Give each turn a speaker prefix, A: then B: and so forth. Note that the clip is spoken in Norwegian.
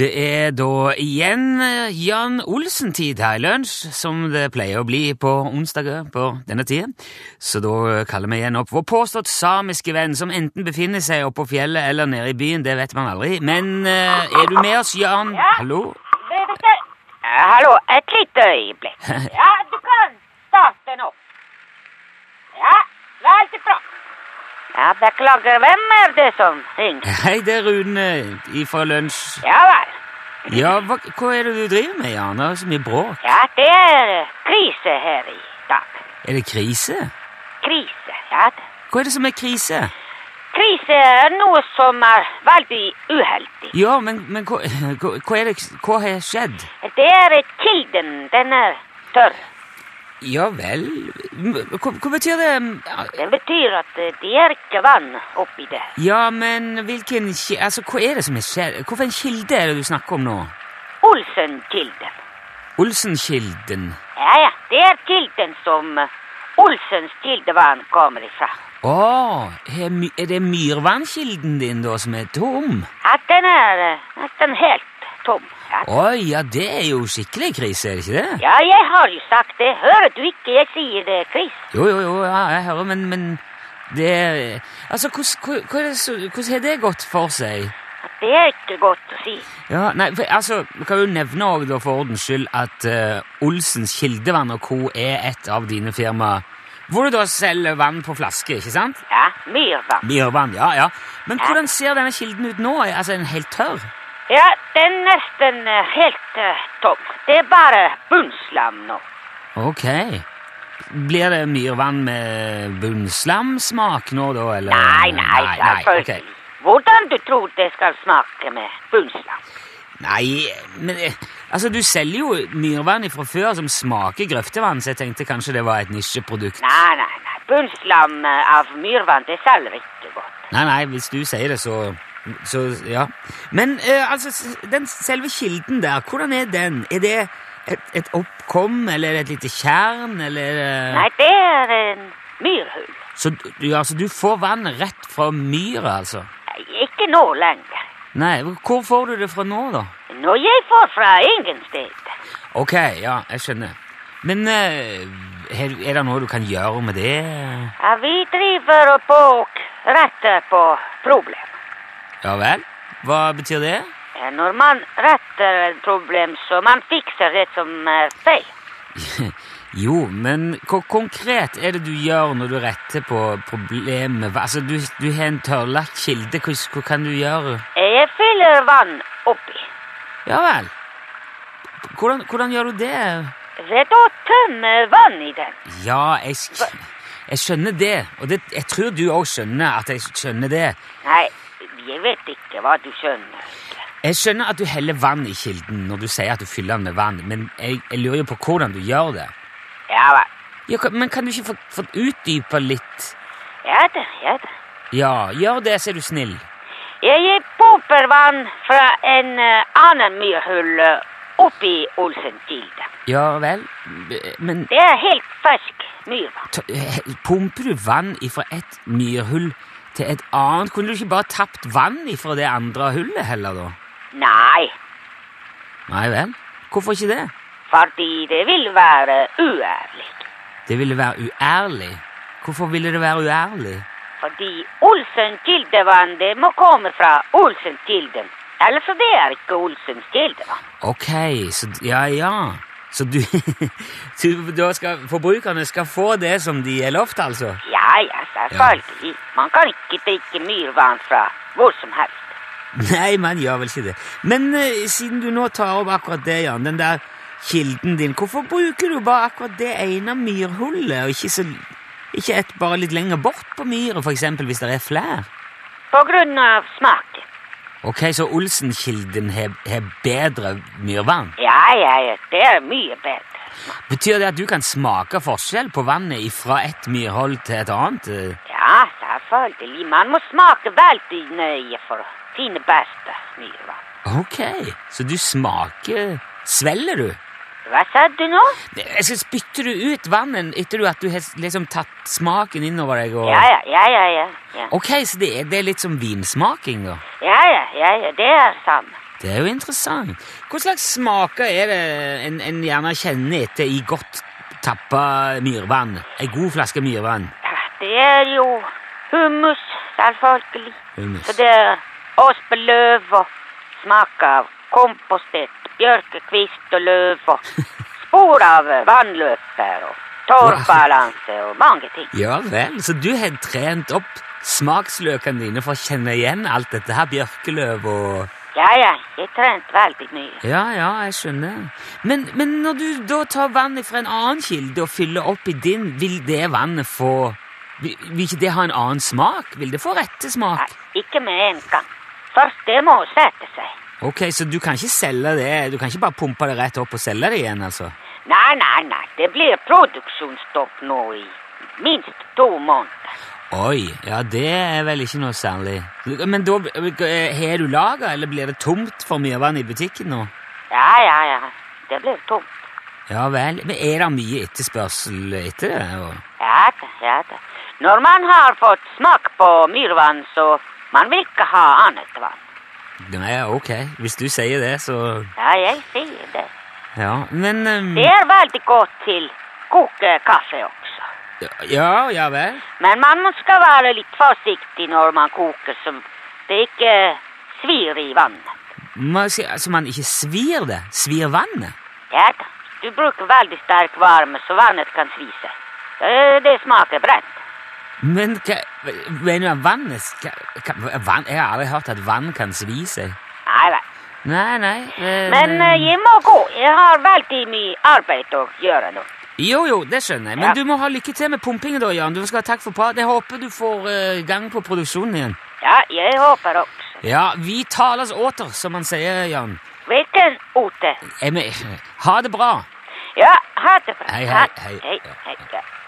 A: Det er da igjen eh, Jan Olsen-tid her i lunsj, som det pleier å bli på onsdager på denne tiden. Så da eh, kaller vi igjen opp vår påstått samiske venn, som enten befinner seg oppe på fjellet eller nede i byen, det vet man aldri. Men eh, er du med oss, Jan?
B: Ja.
A: Hallo?
B: Birgitte? Eh, Hallo, et lite øyeblikk. Ja, du kan starte den opp. Ja, veldig bra. Ja, beklager, hvem er det som ringer?
A: Hei, det er Rune ifra lunsj.
B: Ja vel.
A: Ja, hva, hva er det du driver med, Jan? Det er så mye bråk.
B: Ja, det er krise her i dag.
A: Er det krise?
B: Krise, ja.
A: Hva er det som er krise?
B: Krise er noe som er veldig uheldig.
A: Ja, men, men hva, hva, hva er det Hva har skjedd?
B: Det er kilden, den er tørr.
A: Ja vel hva, hva betyr det?
B: Det betyr at eh, det er ikke vann oppi der.
A: Ja, men hvilken ki- Altså, hva er det som er skjedd? Hvorfor en kilde er det du snakker om nå?
B: Olsen-kilden.
A: Olsenkilden.
B: Ja, ja. Det er kilden som eh, Olsens kildevann kommer ifra.
A: Å, er my- er det myrvannkilden din da som er tom?
B: Ja, den er eh, nesten helt tom. Ja.
A: Oi, ja, det er jo skikkelig krise, er det ikke det?
B: ja, jeg har jo sagt det. Hører du ikke jeg sier det, Chris?
A: Jo, jo, jo, ja, jeg hører, men, men det er- Altså, hvordan hvordan- hvordan er det så- hvordan har det gått for seg?
B: Det er ikke godt å si.
A: Ja, nei, for, altså, Vi kan jo nevne også, da, for ordens skyld at eh, Olsens Kildevann og Co. er et av dine firmaer. Hvor du da selger vann på flaske, ikke sant?
B: Ja, myrvann.
A: Myrvann, ja, ja. Men hvordan ser denne kilden ut nå? Er- Altså, er den helt tørr?
B: Ja, den er nesten eh, helt eh, tom. Det er bare bunnslam nå.
A: Ok. Blir det myrvann med bunnslamsmak nå, da? Eller?
B: Nei, Mm, nei, selvfølgelig.
A: ok.
B: Hvordan du tror det skal smake med bunnslam?
A: Nei, men eh, altså, du selger jo myrvann fra før som smaker grøftevann, så jeg tenkte kanskje det var et nisjeprodukt.
B: Nei, nei, nei. Bunnslam eh, av myrvann, det selger ikke godt.
A: Nei, nei, hvis du sier det, så Så, ja. Men eh, altså, s- den selve kilden der, hvordan er den? Er det et, et oppkom, eller er det et lite tjern, eller er det-
B: Nei, det er en myrhull.
A: Så du- du, altså, du får vann rett fra myra, altså?
B: Nei, Ikke nå lenger.
A: Nei, hvor får du det fra nå, da?
B: Når jeg får fra ingen sted.
A: Ok, ja, jeg skjønner. Men eh, er er det noe du kan gjøre med det?
B: Ja, vi driver og på og retter på problem.
A: Ja vel? Hva betyr det?
B: Ja, Når man retter et problem, så man fikser det som er feil.
A: Jo, men hva konkret er det du gjør når du retter på problemet? Hva- Altså, du, du har en tørrlagt kilde, hva, hva kan du gjøre?
B: Jeg fyller vann oppi.
A: Ja vel. Hvordan, hvordan gjør du det?
B: Ved å tømme vann i den.
A: Ja, jeg, sk- jeg skjønner det, og det, jeg tror du òg skjønner at jeg skjønner det.
B: Nei, jeg vet ikke hva du skjønner.
A: Jeg skjønner at du heller vann i kilden når du sier at du fyller den med vann, men jeg, jeg lurer jo på hvordan du gjør det.
B: Ja vel.
A: Ja, kan- men kan du ikke få, få utdype litt?
B: Ja da, ja da.
A: Ja, gjør det, så er du snill.
B: Jeg jeg pumper vann fra en eh, annen myrhull eh, oppi Olsenkilden.
A: Ja vel, men
B: Det er helt fersk myrvann.
A: Ta- eh, Pumper du vann ifra et myrhull til et annet? Kunne du ikke bare tapt vann ifra det andre hullet heller, da?
B: Nei,
A: Nei vel? Hvorfor ikke det?
B: fordi det vil være uærlig.
A: Det ville være uærlig. Hvorfor ville det være uærlig?
B: Fordi Olsen-kildevann, det må komme fra Olsen-kilden. Ellers så det er ikke Olsens kildevann.
A: Ok, så d- Ja, ja. Så du, du da skal, Forbrukerne skal få det som de er lovt, altså?
B: Ja, ja, selvfølgelig. Man kan ikke drikke myrvann fra hvor som helst.
A: Nei, man gjør vel ikke det. Men eh, siden du nå tar opp akkurat det, Jan, den der kilden din, hvorfor bruker du bare akkurat det ene myrhullet, og ikke, så, ikke et bare litt lenger bort på myra, for eksempel, hvis det er flere?
B: På grunn av smaken.
A: Ok, så Olsenkilden har har bedre myrvann.
B: Ja, ja, ja, det er mye bedre.
A: Betyr det at du kan smake forskjell på vannet fra et myrhold til et annet? eh?
B: Ja, selvfølgelig. Man må smake veldig nøye for å finne beste myrvann.
A: Ok, så du smaker Svelger du?
B: Hva sa du nå?
A: Jeg skal Spytter du ut vannet etter du- at du har liksom tatt smaken innover deg? Og...
B: Ja, ja, ja, ja, ja. ja.
A: Ok, så det er, det er litt som vinsmaking, da?
B: Ja, ja, ja, ja, det er samme.
A: Det er jo interessant. Hva slags smaker er det en, en gjerne kjenner etter i godt tappa myrvann? Ei god flaske myrvann.
B: Ja, Det er jo hummus, selvfølgelig.
A: Hummus.
B: Så det er aspeløv og smak av kompostert bjørkekvist og løv og spor av vannløper og torvbalanse og mange ting.
A: Ja vel, så du har trent opp smaksløkene dine for å kjenne igjen alt dette her bjørkeløv og
B: Ja, ja, jeg trente veldig mye.
A: Ja, ja, jeg skjønner. Men, men når du da tar vann fra en annen kilde og fyller opp i din, vil det vannet få Vil vil ikke det ha en annen smak? Vil det få rette
B: Nei,
A: smak?
B: ikke med en gang. Først det må sette seg.
A: Ok, Så du kan ikke selge det? Du kan ikke bare pumpe det rett opp og selge det igjen? altså?
B: Nei, nei, nei, det blir produksjonsstopp nå i minst to måneder.
A: Oi, ja, det er vel ikke noe særlig. Men da eh, har du lager, eller blir det tomt for mye vann i butikken nå?
B: Ja, ja, ja, det blir tomt.
A: Ja vel. Men er det mye etterspørsel etter det? og-
B: Ja da, ja da. Når man har fått smak på myrvann, så man vil ikke ha annet vann.
A: Nei, ok. Hvis du sier det, så
B: Ja, jeg sier det.
A: Ja, men ehm,
B: Det er veldig godt til kokekaffe også.
A: Ja, ja vel.
B: Men man skal være litt forsiktig når man koker, så det ikke svir i vannet.
A: Man, skal- altså, man ikke svir det? Svir vannet?
B: Ja da. Du bruker veldig sterk varme, så vannet kan svise. Eh, Det smaker brent.
A: Men hva Mener du vannet skal hva- vann, Jeg har aldri hørt at vann kan svi seg.
B: Nei, nei.
A: Nei, nei. eh,
B: Men eh, jeg må gå. Jeg har veldig mye arbeid å gjøre nå.
A: Jo, jo, det skjønner jeg. Men
B: Ja.
A: du må ha lykke til med pumpingen, da, Jan. Du skal ha takk for praten. Jeg håper du får eh, gang på produksjonen igjen.
B: Ja, jeg håper også.
A: Ja, vi tales åter, som man sier, Jan.
B: Hvilken ute?
A: Jeg, men, ha det bra.
B: Ja, ha det bra.
A: Hei, hei,
B: Ha-
A: hei.
B: hei, hei, ja.